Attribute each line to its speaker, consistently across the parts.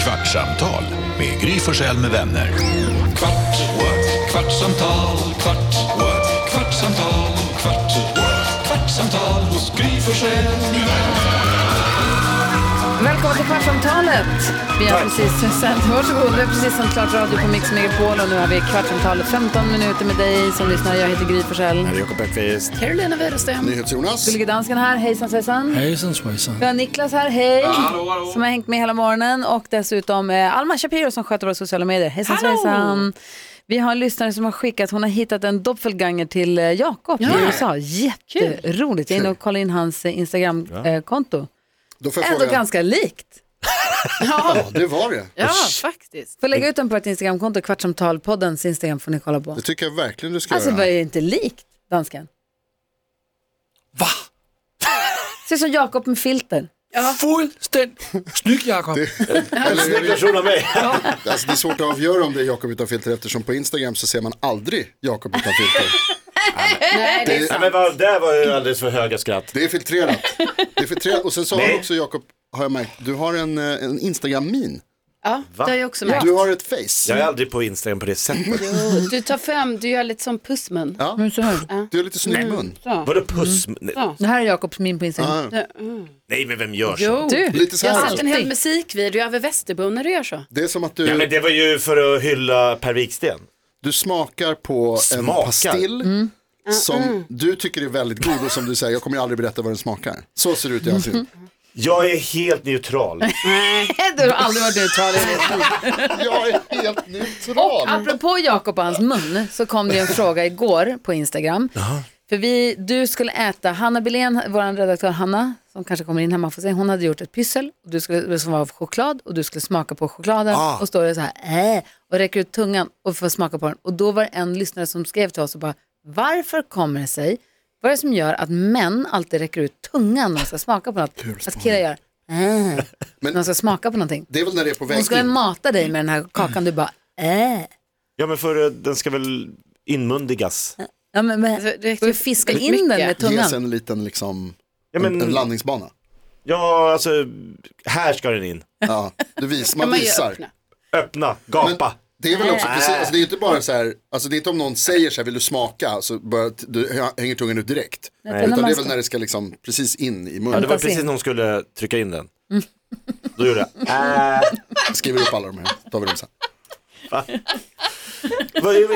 Speaker 1: Kvartsamtal med Gry Forssell med vänner. Kvart, what? kvartsamtal, kvart, what? kvartsamtal, kvart, what? kvartsamtal hos Gry Forssell med vänner.
Speaker 2: Välkommen till Kvartsamtalet. Vi har precis sänt, varsågod, vi har precis sänt klart radio på Mix Megapol och nu har vi Kvartsamtalet 15 minuter med dig som lyssnar. Jag heter Gry Forssell.
Speaker 3: Jakob Ekqvist.
Speaker 2: Carolina Widersten.
Speaker 3: NyhetsJonas.
Speaker 2: Gullige dansken här, hejsan svejsan.
Speaker 4: Hejsan svejsan.
Speaker 2: Vi har Niklas här, hej. Som har hängt med hela morgonen och dessutom eh, Alma Shapiro som sköter våra sociala medier. Hejsan svejsan. Vi har en lyssnare som har skickat, hon har hittat en doppelganger till eh, Jakob i USA. Jätteroligt. Jag är inne och kollar in hans eh, Instagram-konto.
Speaker 3: Då får jag
Speaker 2: Ändå
Speaker 3: fråga.
Speaker 2: ganska likt.
Speaker 3: Ja, det var det.
Speaker 5: Ja, faktiskt.
Speaker 2: Får lägga ut den på ett Instagramkonto, Kvartsamtalpoddens Instagram får ni kolla på.
Speaker 3: Det tycker jag verkligen du ska
Speaker 2: Alltså vad
Speaker 3: göra.
Speaker 2: är det inte likt dansken?
Speaker 4: Va?
Speaker 2: Ser ut som Jakob med filter.
Speaker 4: Fullständigt. Snygg Jakob.
Speaker 3: Eller hur?
Speaker 6: mig.
Speaker 3: Alltså, det är svårt att avgöra om det är Jakob utan filter eftersom på Instagram så ser man aldrig Jakob utan filter.
Speaker 5: Nej, det är
Speaker 6: Nej, men
Speaker 5: sant.
Speaker 6: vad, där var ju alldeles för höga skratt.
Speaker 3: Det är filtrerat. Det är filtrerat. Och sen så har du också Jakob, har jag märkt, du har en, eh, en Instagram-min.
Speaker 5: Ja, det har jag också märkt.
Speaker 3: Du har ett face.
Speaker 6: Jag är aldrig på Instagram på det sättet.
Speaker 5: Du tar fram, du gör lite som pussmun.
Speaker 3: Ja.
Speaker 2: Men Mm, så här.
Speaker 3: Du har lite snygg mun.
Speaker 6: Vadå puss?
Speaker 3: Mm.
Speaker 6: Nej,
Speaker 2: Det här är Jakobs min på Instagram.
Speaker 3: Ja,
Speaker 6: Nej, men vem gör så?
Speaker 5: Jo,
Speaker 2: Du,
Speaker 3: Ah. lite så
Speaker 5: jag har
Speaker 3: här.
Speaker 5: sett en hel musikvideo över Västerbro när du gör så.
Speaker 3: Det är som att
Speaker 6: Ja,
Speaker 3: du,
Speaker 6: men det var ju för att hylla Per Wiksten.
Speaker 3: du smakar på en
Speaker 6: Smakar.
Speaker 3: pastill. Som du tycker är väldigt god och som du säger, jag kommer ju aldrig berätta vad den smakar. Så ser det ut i ansiktet.
Speaker 6: Jag är helt neutral.
Speaker 2: du har aldrig varit neutral i det.
Speaker 3: Jag är helt neutral.
Speaker 2: Apropå Jakob och hans mun så kom det en fråga igår på Instagram. För vi, du skulle äta, Hanna Billén, vår redaktör Hanna, som kanske kommer in här, man får se, hon hade gjort ett pyssel och du skulle, som var av choklad och du skulle smaka på chokladen och står det så här äh, och räcker ut tungan och får smaka på den. Och då var det en lyssnare som skrev till oss och bara, varför kommer det sig, vad är det som gör att män alltid räcker ut tungan när de ska smaka på något? Att killar gör äh, när de ska smaka på någonting.
Speaker 3: Det är väl när det är på väg
Speaker 2: Hon ska ju
Speaker 3: in.
Speaker 2: mata dig med den här kakan, du bara äh.
Speaker 6: Ja, men för eh, den ska väl inmundigas.
Speaker 2: Ja, men, men,
Speaker 5: Alltså, det är
Speaker 2: och
Speaker 5: typ
Speaker 2: fiska in
Speaker 5: väldigt mycket.
Speaker 2: den med
Speaker 3: Ges
Speaker 2: tungan.
Speaker 3: en liten liksom,
Speaker 6: Ja,
Speaker 3: en, en
Speaker 6: men,
Speaker 3: landningsbana.
Speaker 6: ja alltså, här ska den in.
Speaker 3: Ja, du vis, man
Speaker 5: man ju
Speaker 3: visar.
Speaker 5: öppna.
Speaker 6: Öppna, gapa.
Speaker 3: Det är väl också
Speaker 6: Nej.
Speaker 3: precis, alltså det är ju inte bara så här, alltså det är inte om någon säger så här, vill du smaka, så börjar, t- du hä- hänger tungan ut direkt.
Speaker 2: Nej.
Speaker 3: Utan det är
Speaker 2: Man
Speaker 3: väl
Speaker 2: ska-
Speaker 3: när det ska liksom precis in i
Speaker 6: Ja, det
Speaker 3: munnen.
Speaker 6: var precis när hon skulle trycka in den.
Speaker 3: Mm.
Speaker 6: Då gjorde jag. Äh,
Speaker 3: Skriver upp alla de här, tar vi dem sen.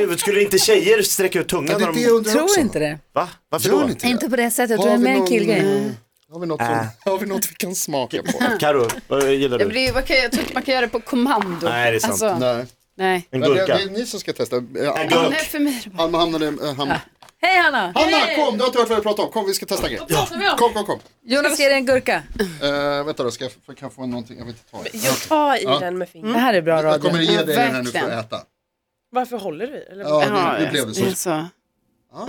Speaker 6: vad- skulle inte tjejer sträcka ut
Speaker 3: Ja,
Speaker 6: tungan?
Speaker 3: det
Speaker 6: när
Speaker 3: är det
Speaker 6: de-
Speaker 3: jag undrar
Speaker 2: Tror
Speaker 3: också.
Speaker 2: inte det.
Speaker 6: Va? Varför
Speaker 3: Gör
Speaker 6: då?
Speaker 3: ni inte det?
Speaker 2: Inte på det sättet, jag tror det
Speaker 3: Har
Speaker 2: är
Speaker 3: vi
Speaker 2: mer en
Speaker 3: någon,
Speaker 2: killgrej.
Speaker 3: eh, Har vi något som-
Speaker 6: Äh.
Speaker 3: har vi något vi kan smaka på?
Speaker 6: Karo, vad gillar
Speaker 5: Ja, men
Speaker 6: du?
Speaker 5: det är, vad kan jag, jag tror inte man kan göra det på kommando.
Speaker 6: Nej, det är sant.
Speaker 5: Alltså,
Speaker 3: Nej.
Speaker 5: nej.
Speaker 6: En
Speaker 3: Men det, det
Speaker 6: gurka.
Speaker 3: är ni som ska testa.
Speaker 6: En
Speaker 3: Eh,
Speaker 6: gurka.
Speaker 5: nej, för mig är det bara...
Speaker 3: Alma hamnade, eh, hamn...
Speaker 2: Hej Hanna!
Speaker 3: Hanna kom, du har inte hört vad jag pratar om. Kom vi ska testa grejer. Kom, kom, kom.
Speaker 2: Jonas ger dig en gurka.
Speaker 3: Eh, vänta då, ska jag, f- kan jag få någonting? Jag vet inte. ta i.
Speaker 7: Jag tar i den med fingret.
Speaker 2: Det här är bra
Speaker 3: Jag kommer
Speaker 2: radio.
Speaker 3: ge dig den när du får
Speaker 5: Verkligen.
Speaker 3: äta.
Speaker 7: Varför håller du i? Eller?
Speaker 3: Ja,
Speaker 5: Alltså, Ja,
Speaker 3: nu, nu blev det så.
Speaker 5: är så.
Speaker 3: Ja, ja,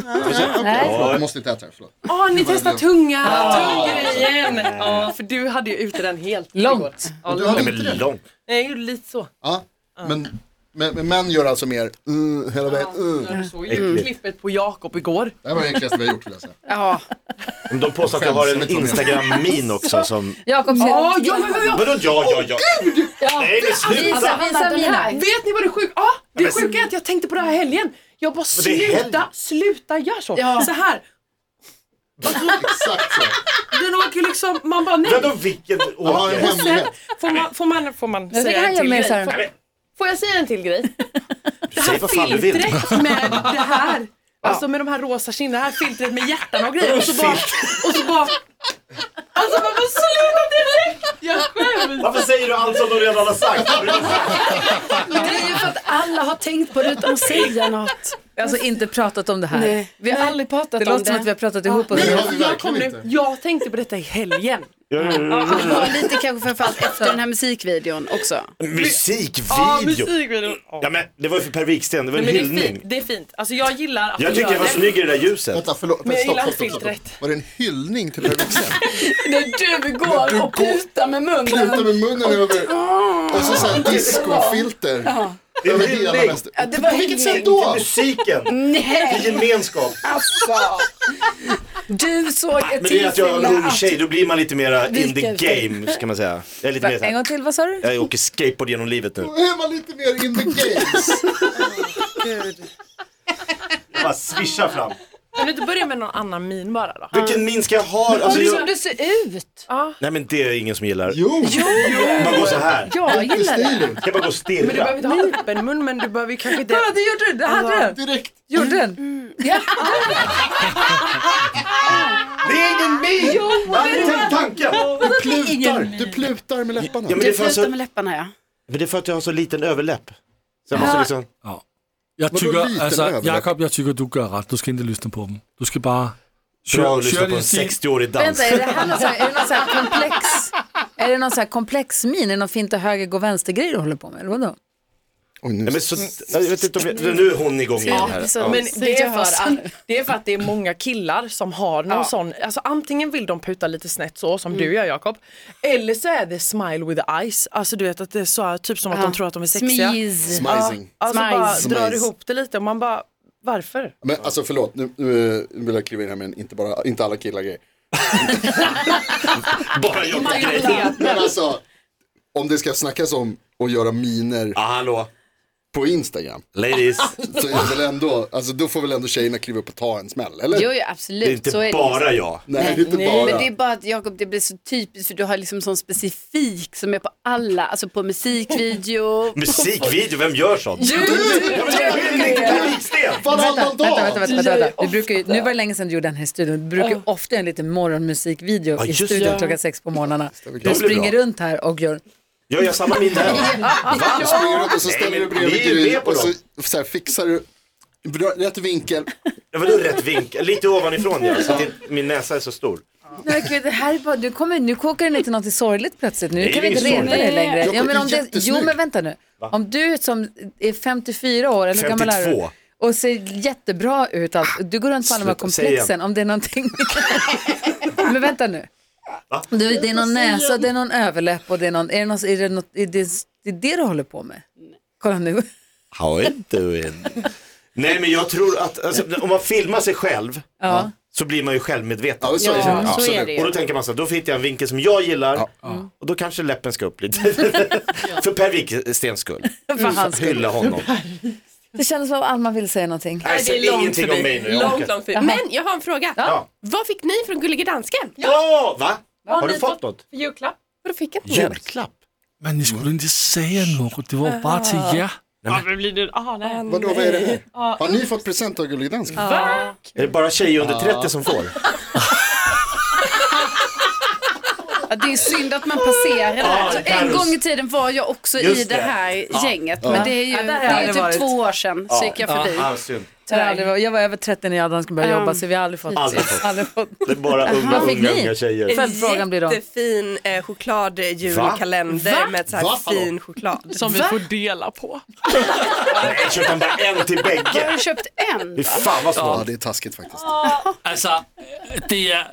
Speaker 3: okej, förlåt, jag måste inte äta det, förlåt.
Speaker 7: Åh, ni testar tunga! Tunggrejen! Ah. Ja, för du hade ju ute den helt
Speaker 2: Långt.
Speaker 7: igår. Ja,
Speaker 3: Du hade
Speaker 6: Nej,
Speaker 7: långt.
Speaker 3: inte
Speaker 6: men
Speaker 3: det?
Speaker 6: lång.
Speaker 7: Nej, jag gjorde lite så.
Speaker 3: Ja, men, men, men män gör alltså mer uh, hela vägen. Uh.
Speaker 7: Jag såg ju klippet på Jakob igår.
Speaker 3: Det här var det enklaste vi har gjort vill jag säga.
Speaker 5: Ja,
Speaker 6: Men De påstår att jag har en Instagram-min också som...
Speaker 2: Jakob ser...
Speaker 7: Ja, ja, ja, ja.
Speaker 6: Vadå ja, ja, ja? Nej, det är slut.
Speaker 5: Alltså,
Speaker 2: Visa, visa
Speaker 5: den här.
Speaker 2: mina.
Speaker 7: Vet ni vad det sjuka ah, Det
Speaker 6: men-
Speaker 7: sjuka är att jag tänkte på det här helgen. Jag bara
Speaker 6: det är helg.
Speaker 7: sluta, sluta gör så.
Speaker 5: Ja.
Speaker 7: Så här.
Speaker 3: Exakt så.
Speaker 7: Den åker ju liksom, man bara nej.
Speaker 6: Vadå vilken
Speaker 3: Ja, en
Speaker 6: åker?
Speaker 3: hemlighet.
Speaker 7: Får man, får man, får man
Speaker 2: Jag tycker
Speaker 7: säga
Speaker 2: han
Speaker 7: en
Speaker 2: gör
Speaker 7: till
Speaker 2: mer
Speaker 7: grej?
Speaker 2: så här.
Speaker 7: Får jag säga en till grej?
Speaker 6: Du säger vad fan du vill.
Speaker 7: filtret med det här. Alltså med de här rosa kinderna, det här filtret med hjärtan och grejer. Och så bara... Och så bara alltså man bara sluta direkt! Jag skäms!
Speaker 6: Varför säger du allt som de redan har sagt?
Speaker 5: men det är ju för att alla har tänkt på det utan att säga något.
Speaker 2: Vi har alltså inte pratat om det här.
Speaker 5: Nej, vi har aldrig pratat
Speaker 2: Det
Speaker 5: om
Speaker 2: låter
Speaker 5: det.
Speaker 2: som att vi har pratat ihop oss.
Speaker 3: Nej,
Speaker 7: Jag,
Speaker 3: har vi
Speaker 7: jag,
Speaker 3: verkligen
Speaker 7: kom nu,
Speaker 3: inte.
Speaker 7: jag tänkte på detta i helgen.
Speaker 5: Och lite kanske framförallt efter den här musikvideon också.
Speaker 6: Musikvideo.
Speaker 7: musikvideon.
Speaker 6: Ja, men det var ju för Per Wiksten, det var en
Speaker 7: Men det är
Speaker 6: hyllning.
Speaker 7: fint, det är fint. Alltså jag gillar att
Speaker 6: Jag
Speaker 7: du
Speaker 6: tycker
Speaker 7: gör
Speaker 6: det var snygg i det där ljuset.
Speaker 3: Vänta, förlåt.
Speaker 7: Men jag
Speaker 3: stopp,
Speaker 7: gillar
Speaker 3: stopp, stopp, stopp.
Speaker 7: filtret.
Speaker 3: Var det en hyllning till Per Wiksten?
Speaker 5: När du går och putar med munnen.
Speaker 3: Luta med munnen över och så såhär discofilter. Över hela
Speaker 6: hyllning.
Speaker 3: väster.
Speaker 5: Ja, det var
Speaker 3: På vilket
Speaker 5: hyllning.
Speaker 3: sätt då?
Speaker 6: Till musiken,
Speaker 5: Nej,
Speaker 6: till gemenskap.
Speaker 5: alltså. Du såg ett
Speaker 6: Men det är att jag är en ung tjej, då blir man lite mera in the
Speaker 5: Vilken fin-
Speaker 6: game, kan man säga. Jag är lite mer
Speaker 2: Va, en
Speaker 6: såhär,
Speaker 2: gång till, vad sa du?
Speaker 6: jag åker skateboard genom livet nu.
Speaker 3: Då är man lite mer in the games.
Speaker 6: Jag bara swishar fram.
Speaker 7: Kan du inte börja med någon annan min bara då?
Speaker 6: Vilken min ska jag ha? Alltså,
Speaker 5: Som
Speaker 6: jag...
Speaker 5: du ser ut.
Speaker 6: Nej men det är ingen som gillar.
Speaker 3: Jo,
Speaker 6: Man går så här.
Speaker 2: Jag gillar det.
Speaker 3: stiligt.
Speaker 6: Jag bara går och
Speaker 7: Men du behöver
Speaker 6: stirrar.
Speaker 7: inte ha öppen mun men du behöver ju kanske inte...
Speaker 2: Ja, Mm. det gjorde du, det hade du.
Speaker 3: Direkt.
Speaker 2: Gjorde den?
Speaker 6: Det är ingen min! Tänk tanken!
Speaker 3: Du plutar. Du plutar med läpparna.
Speaker 6: Ja, men, det
Speaker 5: Du
Speaker 6: är för att
Speaker 5: flyter
Speaker 6: så...
Speaker 5: med läpparna ja.
Speaker 6: men det är för att jag har så liten överläpp. Så jag måste liksom...
Speaker 4: Jag
Speaker 3: Vadå liten
Speaker 4: tycker, alltså,
Speaker 3: överläpp?
Speaker 4: Jakob, jag tycker du gör rätt. Du ska inte lyssna på dem. Du ska bara
Speaker 6: Bra att
Speaker 4: köra
Speaker 6: lyssna på en
Speaker 4: din stil.
Speaker 6: 60-årig dans.
Speaker 2: Vänta, är det här någon sån här, är det någon sån här komplex? Är det någon sån här komplex min? Är det någon fint och höger gå vänster grej du håller på med? Eller vadå?
Speaker 3: Oj, nu
Speaker 6: Nej, men så... jag vet inte om jag... Nu är hon igång igen här.
Speaker 5: så-
Speaker 6: Ja.
Speaker 7: Men
Speaker 5: Så
Speaker 7: det är,
Speaker 5: jag
Speaker 7: för
Speaker 5: hör
Speaker 7: att, det är för att det är många killar som har någon sån, alltså antingen vill de puta lite snett så som du gör Jakob, eller så är det smile with the eyes, alltså du vet att det är så här, typ som att de tror att de är sexiga.
Speaker 5: Smiz.
Speaker 3: Smizing.
Speaker 7: Alltså
Speaker 5: Smize.
Speaker 7: bara
Speaker 3: Smize.
Speaker 7: drar ihop det lite och man bara, varför?
Speaker 3: Men alltså förlåt, nu, nu vill jag kliva in här med en inte, bara, inte alla killar grej.
Speaker 6: Bara jag
Speaker 3: Men alltså, om det ska snackas om att göra miner
Speaker 6: Ah, hallå,
Speaker 3: på Instagram.
Speaker 6: ladies.
Speaker 3: Så är det väl ändå, alltså då får väl ändå tjejerna kliva upp och ta en smäll, eller?
Speaker 5: Jo, jo
Speaker 6: Det är
Speaker 5: absolut.
Speaker 6: inte
Speaker 5: så är det.
Speaker 6: bara jag.
Speaker 3: Nej, det är inte bara.
Speaker 5: Men det är bara att Jakob, det blir så typiskt för du har liksom sån specifik som är på alla, alltså på musikvideo.
Speaker 6: Musikvideo, vem gör sånt? Du! Publiksten!
Speaker 3: Varannan
Speaker 2: Vänta, vänta,
Speaker 3: dag!
Speaker 2: vänta. vänta, vänta. Vi brukar ju, nu var det länge sedan du gjorde den här i studion. Vi brukar ju ofta göra en liten morgonmusikvideo
Speaker 6: Ja,
Speaker 2: i
Speaker 6: just
Speaker 2: studion
Speaker 6: det.
Speaker 2: klockan sex på morgnarna.
Speaker 6: blir
Speaker 2: Du springer
Speaker 6: bra.
Speaker 2: runt här och gör...
Speaker 6: Jag gör samma min där.
Speaker 3: Du springer runt och så
Speaker 6: Nej,
Speaker 3: ställer du
Speaker 6: men
Speaker 3: bredvid
Speaker 6: vi är ju
Speaker 3: Gry
Speaker 6: med på
Speaker 3: och så, så här, fixar du bra- rätt vinkel.
Speaker 6: Det var då rätt vinkel, lite ovanifrån ja, så att det- min näsa är så stor.
Speaker 2: Nej, gud, det här är bara, du kommer, nu kokar den inte något sorgligt plötsligt. Nu
Speaker 6: Nej,
Speaker 2: kan
Speaker 6: det
Speaker 2: vi
Speaker 6: är
Speaker 2: inte
Speaker 6: inget
Speaker 2: reta dig
Speaker 5: sorgligt.
Speaker 2: längre.
Speaker 3: Jakob,
Speaker 2: men
Speaker 3: det är
Speaker 2: om det, jo,
Speaker 3: jättesnygg.
Speaker 2: men vänta nu. Om du som är 54 år, eller hur gammal är du?
Speaker 6: 52.
Speaker 2: Och ser jättebra ut. allt. Du går runt på alla de här
Speaker 6: Sluta, säg igen.
Speaker 2: komplexen. Om det är någonting... men vänta nu. Du, det är någon näsa, det är någon överläpp och det är någon... Är det, någon, är det, något, är det, det är det du håller på med? Kolla nu.
Speaker 6: How it doing? Nej men jag tror att, alltså, om man filmar sig själv
Speaker 2: Ja.
Speaker 6: så blir man ju självmedveten.
Speaker 3: Ja, så är det.
Speaker 5: Ja, så är
Speaker 3: Absolut.
Speaker 5: det.
Speaker 6: Och då tänker man så här, då hittar jag en vinkel som jag gillar
Speaker 8: Mm.
Speaker 6: och då kanske läppen ska upp lite. För Per Wikstens skull.
Speaker 2: För hans skull.
Speaker 6: Hylla honom.
Speaker 2: Det kändes som att Alma ville säga någonting.
Speaker 6: Nej,
Speaker 8: det
Speaker 6: säg
Speaker 8: är långt
Speaker 6: ingenting om mig nu.
Speaker 8: förbi.
Speaker 6: jag
Speaker 8: Långt,
Speaker 6: orkar
Speaker 8: långt förbi. Men jag har en fråga.
Speaker 6: Ja.
Speaker 8: Vad fick ni från Gullige Dansken?
Speaker 6: inte. Åh, va?
Speaker 8: har
Speaker 6: Har du
Speaker 8: ni
Speaker 6: fått något?
Speaker 8: Julklapp. Vadå fick jag inte något?
Speaker 6: Julklapp?
Speaker 4: Men ni skulle inte säga något, det var bara till er.
Speaker 3: Vadå, vad är det här? Har ni fått present av Gullig Dansk?
Speaker 6: Är det bara tjejer under 30 som får?
Speaker 5: Ja, det är synd att man passerar det
Speaker 6: Ja,
Speaker 5: här. Så
Speaker 6: det kan
Speaker 5: en
Speaker 6: du-
Speaker 5: gång i tiden var jag också i
Speaker 6: Just
Speaker 5: det
Speaker 6: det.
Speaker 5: här gänget. Men det är ju, det är ju typ två år sedan så gick jag förbi.
Speaker 6: Ah, synd.
Speaker 2: Jag, har aldrig, varit- jag var över 30 när jag skulle börja
Speaker 5: Ja.
Speaker 7: Mm.
Speaker 2: jobba så vi har aldrig fått...
Speaker 6: Aldrig fått.
Speaker 2: Aldrig fått.
Speaker 6: Det är bara unga,
Speaker 2: Vad fick
Speaker 6: unga,
Speaker 2: ni?
Speaker 6: unga tjejer.
Speaker 2: Följdfrågan blir då.
Speaker 8: Jättefin eh, chokladjulkalender med så här
Speaker 3: Va?
Speaker 8: fin choklad.
Speaker 7: Som vi får dela på.
Speaker 6: Nej, köpte han bara en till
Speaker 5: Har
Speaker 6: bägge?
Speaker 5: du köpt en?
Speaker 6: Fy fan vad
Speaker 3: Ja,
Speaker 6: snålt.
Speaker 3: det är taskigt faktiskt.
Speaker 4: Altså, det er...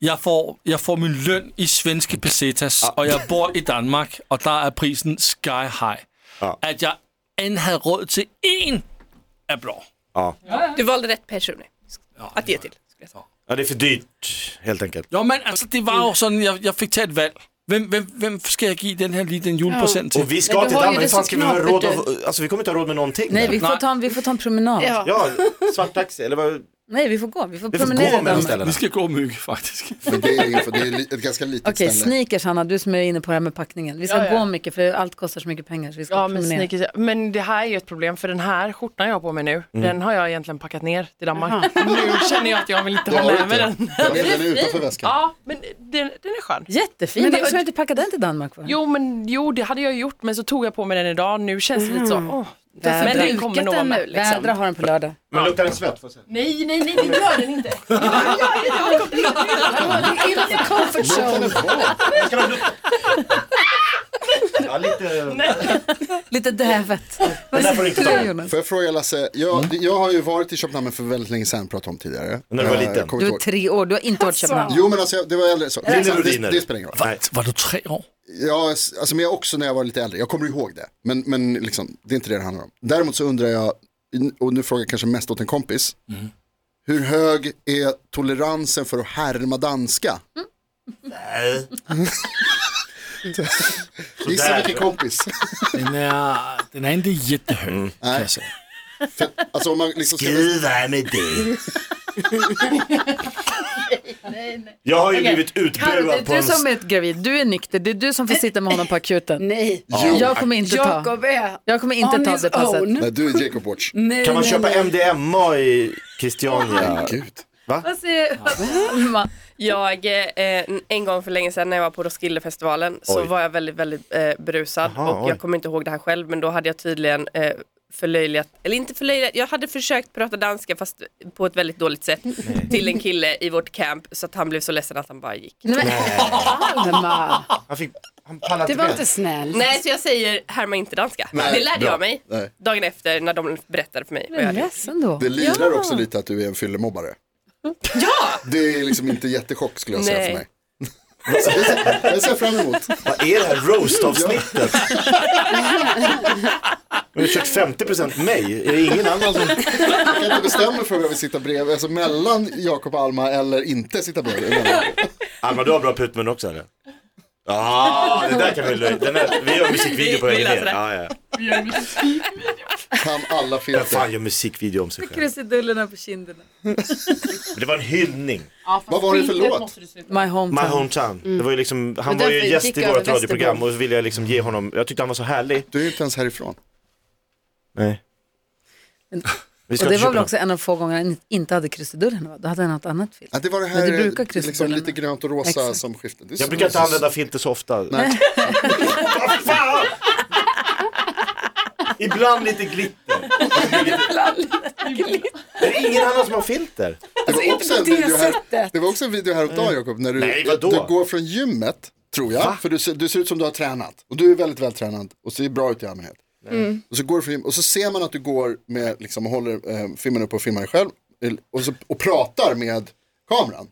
Speaker 4: Jeg får, jeg får min løn i svenske pesetas, og jeg bor i Danmark, og der er prisen sky high.
Speaker 6: Ja.
Speaker 4: At jeg end havde råd til én af blå.
Speaker 8: Du valde rätt person att ge till. skulle jag säga.
Speaker 6: Ja, det är för dyrt helt enkelt.
Speaker 4: Jo, men altså, det var jo sådan, jeg, jeg fik taget et valg. Hvem, hvem, hvem skal jeg give den her lige den julepresent til?
Speaker 6: Och vi
Speaker 5: Men
Speaker 6: ska
Speaker 5: du
Speaker 6: till
Speaker 5: har ju
Speaker 6: Danmark,
Speaker 5: det
Speaker 6: hur fan
Speaker 5: så
Speaker 6: ska vi ha
Speaker 5: knapert
Speaker 6: råd av, alltså vi kommer inte ha råd med någonting.
Speaker 2: Nej, vi får,
Speaker 4: Nej.
Speaker 2: ta, en- vi får ta en promenad.
Speaker 5: Ja.
Speaker 6: Ja, svart taxi, eller vad?
Speaker 2: Nej, vi får gå. Vi får
Speaker 6: Vi får
Speaker 2: promenera.
Speaker 6: gå mellan
Speaker 2: Danmark.
Speaker 6: ställena.
Speaker 4: Vi skal gå mygge, faktisk.
Speaker 3: Men det är, ingen- för det är li- ett ganska litet
Speaker 2: Okej,
Speaker 3: ställe.
Speaker 2: sneakers Hanna, du som är inne på det här med packningen. Vi ska
Speaker 7: Ja, ja.
Speaker 2: gå mycket för allt kostar så mycket pengar så vi ska
Speaker 7: Ja men
Speaker 2: promenera.
Speaker 7: sneakers, men det här är ju ett problem för den här skjortan jag har på mig nu,
Speaker 3: Mm.
Speaker 7: den har jag egentligen packat ner till Danmark. Nu känner jag att jag vill inte ha
Speaker 3: Jag har
Speaker 7: med mig
Speaker 3: inte.
Speaker 7: den.
Speaker 3: Jag vill den är utanför väskan.
Speaker 7: Ja, men den, den är skön.
Speaker 2: Jättefin,
Speaker 7: Men det-
Speaker 2: varför ska du inte packa den till Danmark? För?
Speaker 7: Jo, men jo, det hade jag ju gjort, men så tog jag på mig den idag. Nu känns det lite så, åh,
Speaker 2: Vädra.
Speaker 7: men den kommer nog vara
Speaker 5: den
Speaker 7: med.
Speaker 5: nu liksom.
Speaker 2: Vädra har den på lördag.
Speaker 6: Men luktar den svett? Får se.
Speaker 7: Nej, nej, nej, det gör den inte.
Speaker 5: Det är comfort zone.
Speaker 6: Ska man lukta? Ja, lite...
Speaker 2: Lite dävet.
Speaker 6: Den där får du inte ta.
Speaker 2: Jonas?
Speaker 3: Får jag fråga Lasse, jag, jag har ju varit i Köpenhamn för väldigt länge sedan, pratade om tidigare.
Speaker 6: När du var
Speaker 3: Eh,
Speaker 6: liten.
Speaker 3: kommer
Speaker 2: Du
Speaker 3: inte
Speaker 2: är tre
Speaker 3: ihåg.
Speaker 2: år, du har inte varit i Köpenhamn.
Speaker 3: Jo men alltså, jag- det var äldre så. Det, det,
Speaker 6: Rhodiner.
Speaker 3: det spelar ingen roll.
Speaker 6: Nej.
Speaker 4: Var du tre år?
Speaker 3: Jag, alltså, men jag också när jag var lite äldre, jag kommer ihåg det. Men, men liksom, det är inte det det handlar om. Däremot så undrar jag, och nu frågar jag kanske mest åt en kompis.
Speaker 6: Mm.
Speaker 3: Hur hög är toleransen för att härma danska?
Speaker 6: Mm.
Speaker 3: Gissa
Speaker 6: Sådär.
Speaker 3: vilken kompis.
Speaker 4: Den är, den är inte jättehög kan jag säga.
Speaker 3: Alltså, om man liksom ska...
Speaker 6: Skruva med det. Jag har ju blivit
Speaker 2: Harry,
Speaker 6: utbuad på
Speaker 2: du
Speaker 6: en...
Speaker 2: som är gravid, du är nykter, det är du som får sitta med honom på akuten.
Speaker 5: Nej,
Speaker 2: Jag kommer inte ta,
Speaker 5: Jakob är
Speaker 2: jag kommer inte
Speaker 5: on
Speaker 2: ta
Speaker 5: his
Speaker 2: det passet.
Speaker 5: own.
Speaker 3: Nej, du är Jacob Watch.
Speaker 5: Nej,
Speaker 6: Kan man
Speaker 5: nej,
Speaker 6: köpa
Speaker 5: nej.
Speaker 6: MDMA i Christiania?
Speaker 3: Gud.
Speaker 2: Vad säger
Speaker 8: Mamma, Jag, eh, en gång för länge sedan när jag var på Roskildefestivalen så
Speaker 6: Oj.
Speaker 8: var jag väldigt, väldigt eh, berusad
Speaker 6: Aha,
Speaker 8: och
Speaker 6: oj.
Speaker 8: jag kommer inte ihåg det här själv men då hade jag tydligen eh, förlöjligat, eller inte förlöjligat, jag hade försökt prata danska fast på ett väldigt dåligt sätt till en kille i vårt camp så att han blev så ledsen att han bara gick.
Speaker 2: Nej, men,
Speaker 5: Alma,
Speaker 6: Han, fick, han pallade
Speaker 5: det
Speaker 6: inte
Speaker 5: var
Speaker 6: med.
Speaker 5: inte snällt.
Speaker 8: Nej, så jag säger härma inte danska.
Speaker 3: Nej,
Speaker 8: det lärde
Speaker 3: bra.
Speaker 8: jag mig
Speaker 3: Nej.
Speaker 8: dagen efter när de berättade för mig vad jag
Speaker 2: jag är
Speaker 8: hade gjort.
Speaker 2: ledsen då.
Speaker 3: Det lirar också lite att du är en fyllemobbare. Ja! Det är liksom inte jättechock skulle jag säga för
Speaker 8: Nej.
Speaker 3: mig. Så det ser- Det ser jag fram emot.
Speaker 6: Vad är det här roast-avsnittet? Vi har kört 50% mig. Är det ingen annan som...
Speaker 3: Jag kan inte bestämma mig för om jag vill sitta bredvid, alltså mellan Jakob och Alma eller inte sitta bredvid. Men-
Speaker 6: Alma, du har bra putmun också eller? Ja, det där kan vi löja. Den här- Vi gör musikvideo på
Speaker 8: Vi- vi löser
Speaker 6: vägen ner.
Speaker 8: det.
Speaker 6: Ja, ja.
Speaker 3: Kan alla fel.
Speaker 6: Vem fan gör musikvideo om sig själv?
Speaker 2: Krusidullerna på kinderna.
Speaker 6: Det var en hyllning.
Speaker 3: Vad var det för låt?
Speaker 2: My
Speaker 6: My
Speaker 2: hometown.
Speaker 6: hometown. Det var ju liksom, han
Speaker 5: Det
Speaker 6: var
Speaker 5: var
Speaker 6: ju
Speaker 5: därför
Speaker 6: gäst
Speaker 5: gick
Speaker 6: i
Speaker 5: jag
Speaker 6: vårt
Speaker 5: över
Speaker 6: radioprogram och
Speaker 5: Västerbron.
Speaker 6: så ville jag liksom ge honom, jag tyckte han var så härlig.
Speaker 3: Du är ju inte ens härifrån.
Speaker 6: Vi
Speaker 2: Och
Speaker 6: ska
Speaker 2: det
Speaker 6: till
Speaker 2: var väl
Speaker 6: Köpenhamn.
Speaker 2: också en av få gånger han inte hade krusidullerna, va? då hade han något annat film.
Speaker 3: Ja, det var det
Speaker 2: Men
Speaker 3: här
Speaker 2: det brukar
Speaker 3: eh, liksom
Speaker 2: Kristoffer
Speaker 3: lite grönt och rosa
Speaker 2: Exakt.
Speaker 3: som skiftet. Du är
Speaker 6: Jag
Speaker 3: så-
Speaker 6: brukar inte använda filter så ofta.
Speaker 3: Nej.
Speaker 6: Vad fan! Ibland lite glitter. Det är ingen annan som har filter.
Speaker 3: Det var, också en
Speaker 5: Alltså, på det
Speaker 3: video här,
Speaker 5: sättet.
Speaker 3: det var också en video häromdagen Jakob, när du,
Speaker 6: Nej, vadå?
Speaker 3: du går från gymmet, tror jag, för du, ser- du ser ut som du har tränat. Och du är väldigt vältränad och ser bra ut i allmänhet.
Speaker 5: Mm.
Speaker 3: Och, så går du från gym, och så ser man att du går med, liksom håller eh, filmen upp och filmar dig själv el- och, så, och pratar med kameran.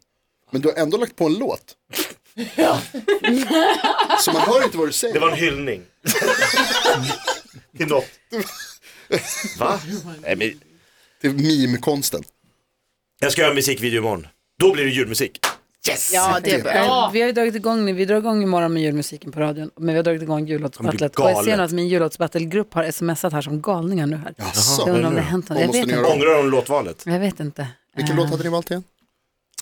Speaker 3: Men du har ändå lagt på en låt. så man hör inte vad du säger.
Speaker 6: Det var en hyllning. Till något. Va? Nej, men
Speaker 3: Det är meme-konsten.
Speaker 6: jag ska göra en musikvideo imorgon. Då blir det julmusik. Yes!
Speaker 5: Ja, det är bra.
Speaker 2: Eh, Vi har ju dragit igång nu, vi drar igång imorgon med julmusiken på radion, men vi har dragit igång
Speaker 6: blir
Speaker 2: jullåtsbattlet. Och jag ser
Speaker 6: galet.
Speaker 2: nu att min jullåtsbattelgrupp har smsat här som galningar nu här.
Speaker 3: Jaså,
Speaker 2: jag undrar om
Speaker 6: nu?
Speaker 2: det har hänt något.
Speaker 3: Vad
Speaker 2: Jag
Speaker 3: måste
Speaker 2: vet
Speaker 3: ni
Speaker 2: inte.
Speaker 3: göra?
Speaker 6: Ångrar de låtvalet?
Speaker 2: Jag vet inte.
Speaker 3: Vilken låt hade ni valt igen?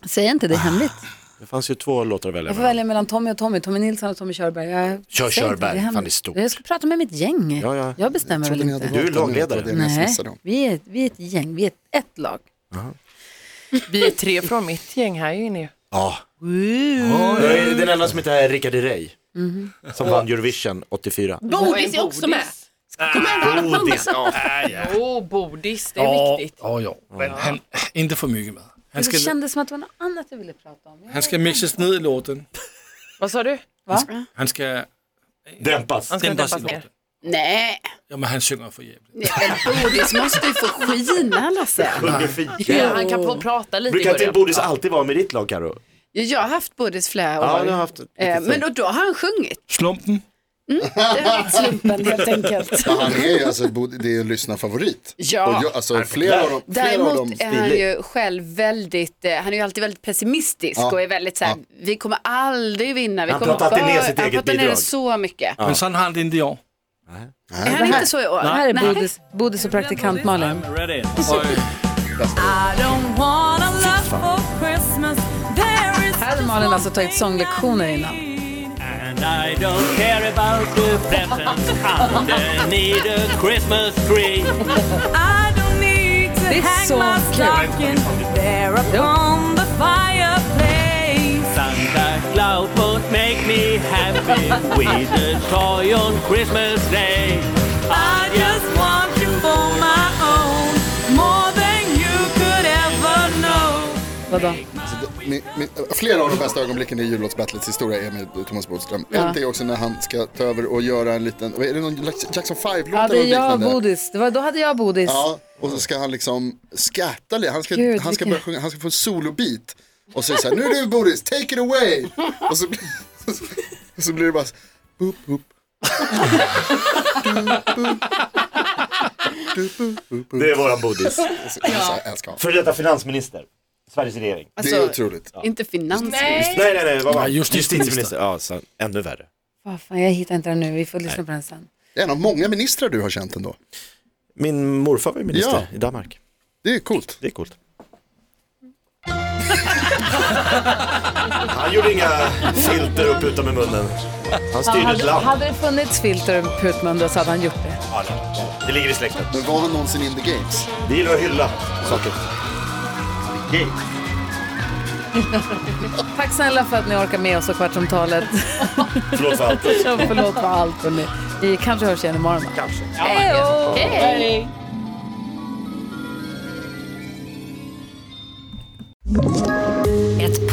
Speaker 2: Säg inte, det är hemligt.
Speaker 6: Det fanns ju två låtar att välja
Speaker 2: Jag får
Speaker 6: mellan.
Speaker 2: välja mellan Tommy och Tommy, Tommy Nilsson och Tommy Körberg. Jag
Speaker 6: Kör
Speaker 2: säger inte,
Speaker 6: Körberg,
Speaker 2: är hemligt.
Speaker 6: fan, det är stort.
Speaker 2: Jag ska prata med mitt gäng.
Speaker 6: Ja, ja.
Speaker 2: Jag bestämmer väl
Speaker 3: Trodde ni
Speaker 2: inte.
Speaker 3: hade
Speaker 6: Du är
Speaker 3: valt den, men jag
Speaker 6: lagledare.
Speaker 3: tror det är ni
Speaker 2: Nej,
Speaker 3: smsade om.
Speaker 2: vi är, vi är ett gäng, vi är ett, ett lag.
Speaker 7: Vi är tre från mitt gäng här inne ju.
Speaker 6: Ja. Jag är den enda som inte är Rickard Herrey. Som vann Eurovision 84.
Speaker 8: Bodis är också med.
Speaker 6: Godis. Ja.
Speaker 7: Åh, bodis, det
Speaker 4: Ja, ja, ja. Men han, inte för mycket med. Han
Speaker 2: Det
Speaker 4: ska,
Speaker 2: kändes som att det var något annat jag ville prata om.
Speaker 4: han ska mixas ner i låten.
Speaker 7: Vad sa du?
Speaker 4: Han ska
Speaker 6: Dämpas.
Speaker 7: Han ska dämpas
Speaker 4: dämpas i
Speaker 7: ner.
Speaker 4: låten.
Speaker 5: Nej,
Speaker 4: Ja, men han sjunger för jävligt.
Speaker 5: men Bodis måste ju få skina Lasse.
Speaker 6: Under fika.
Speaker 7: Ja, han kan få prata lite i
Speaker 6: Brukar inte
Speaker 7: början.
Speaker 6: Bodis alltid vara med ditt lag Karo?
Speaker 5: Ja, Jag har haft Bodis flera
Speaker 6: Ja,
Speaker 5: år.
Speaker 6: du har haft lite
Speaker 5: Eh,
Speaker 6: fel.
Speaker 5: men då, då har han sjungit.
Speaker 4: Slumpen.
Speaker 5: Det har varit slumpen helt enkelt.
Speaker 3: Ja, han är ju alltså, Bod- det är en lyssnarfavorit.
Speaker 5: Ja.
Speaker 3: Och jag, alltså, flera av dem, flera av dem
Speaker 5: Däremot är han
Speaker 6: stilig.
Speaker 5: ju själv väldigt, eh, han är ju alltid väldigt pessimistisk
Speaker 3: Ja.
Speaker 5: och är väldigt så här, vi kommer aldrig vinna. Vi
Speaker 6: Han
Speaker 5: kommer
Speaker 6: pratar alltid ner
Speaker 5: bara-
Speaker 6: sitt
Speaker 5: han
Speaker 6: eget
Speaker 5: pratar ner
Speaker 6: bidrag.
Speaker 5: det så mycket.
Speaker 4: Men sån har han det inte i år.
Speaker 5: Är han inte så i år?
Speaker 2: Det här är Bodis, Bodis och praktikant Malin.
Speaker 4: ready. Och,
Speaker 2: Här hade Malin alltså tagit sånglektioner innan.
Speaker 9: And I don't care about the presents underneath the Christmas tree. I don't need to
Speaker 2: Det är
Speaker 9: hang
Speaker 2: så
Speaker 9: my
Speaker 2: kul.
Speaker 9: stocking there upon the fireplace. Santa Claus won't make me happy with a toy on Christmas Day. I just want you for my own, more than you could ever know.
Speaker 2: Vadå?
Speaker 3: Alltså, det, min, min, flera av de bästa ögonblicken i jullåtsbattlets historia är med Thomas Bodström.
Speaker 2: Ja.
Speaker 3: Ett är också när han ska ta över och göra en liten, är det någon Jackson 5-låt
Speaker 2: Ja, det
Speaker 3: eller
Speaker 2: är
Speaker 3: något
Speaker 2: jag och
Speaker 3: liknande?
Speaker 2: Bodis. Det var, då hade jag Bodis.
Speaker 3: Ja, och så ska han liksom skätta lite. Han ska,
Speaker 2: Gud,
Speaker 3: han ska
Speaker 2: vilken-
Speaker 3: börja sjunga, han ska få en solobit. Och så är det så här, nu är du Boris, take it away! Och så, och så blir det bara, så- boop, boop. Du, boop, boop, boop.
Speaker 6: Det är våran bodis.
Speaker 3: Alltså, Jag älskar honom.
Speaker 6: För detta finansminister. Sveriges regering.
Speaker 3: Det
Speaker 2: Alltså-
Speaker 3: är otroligt.
Speaker 10: Inte finans.
Speaker 6: Nej, nej, nej. Vad var han?
Speaker 4: Nej, justitieminister.
Speaker 6: Ja, så ännu värre.
Speaker 2: Vad fan, jag hittar inte den nu. Vi får lyssna på den sen.
Speaker 3: Det är en av många ministrar du har känt ändå.
Speaker 6: Min morfar var ju minister
Speaker 3: Ja.
Speaker 6: i Danmark.
Speaker 3: Det är coolt.
Speaker 6: Det är coolt. Han gjorde inga filter och puta med munnen. Han styrde ett
Speaker 2: Hade,
Speaker 6: land.
Speaker 2: hade det funnits filter och putmun då så hade han gjort det.
Speaker 6: Ja, Det ligger i släkten.
Speaker 3: Men var han någonsin in the games?
Speaker 6: Vi gillar att hylla saker. Gay.
Speaker 2: Tack snälla för att ni orkar med oss och Kvartsamtalet.
Speaker 6: Förlåt för allt.
Speaker 2: Så Förlåt för allt. hörni. Vi kanske hörs igen imorgon. då.
Speaker 6: Kanske.
Speaker 2: Hejdå!
Speaker 5: Ett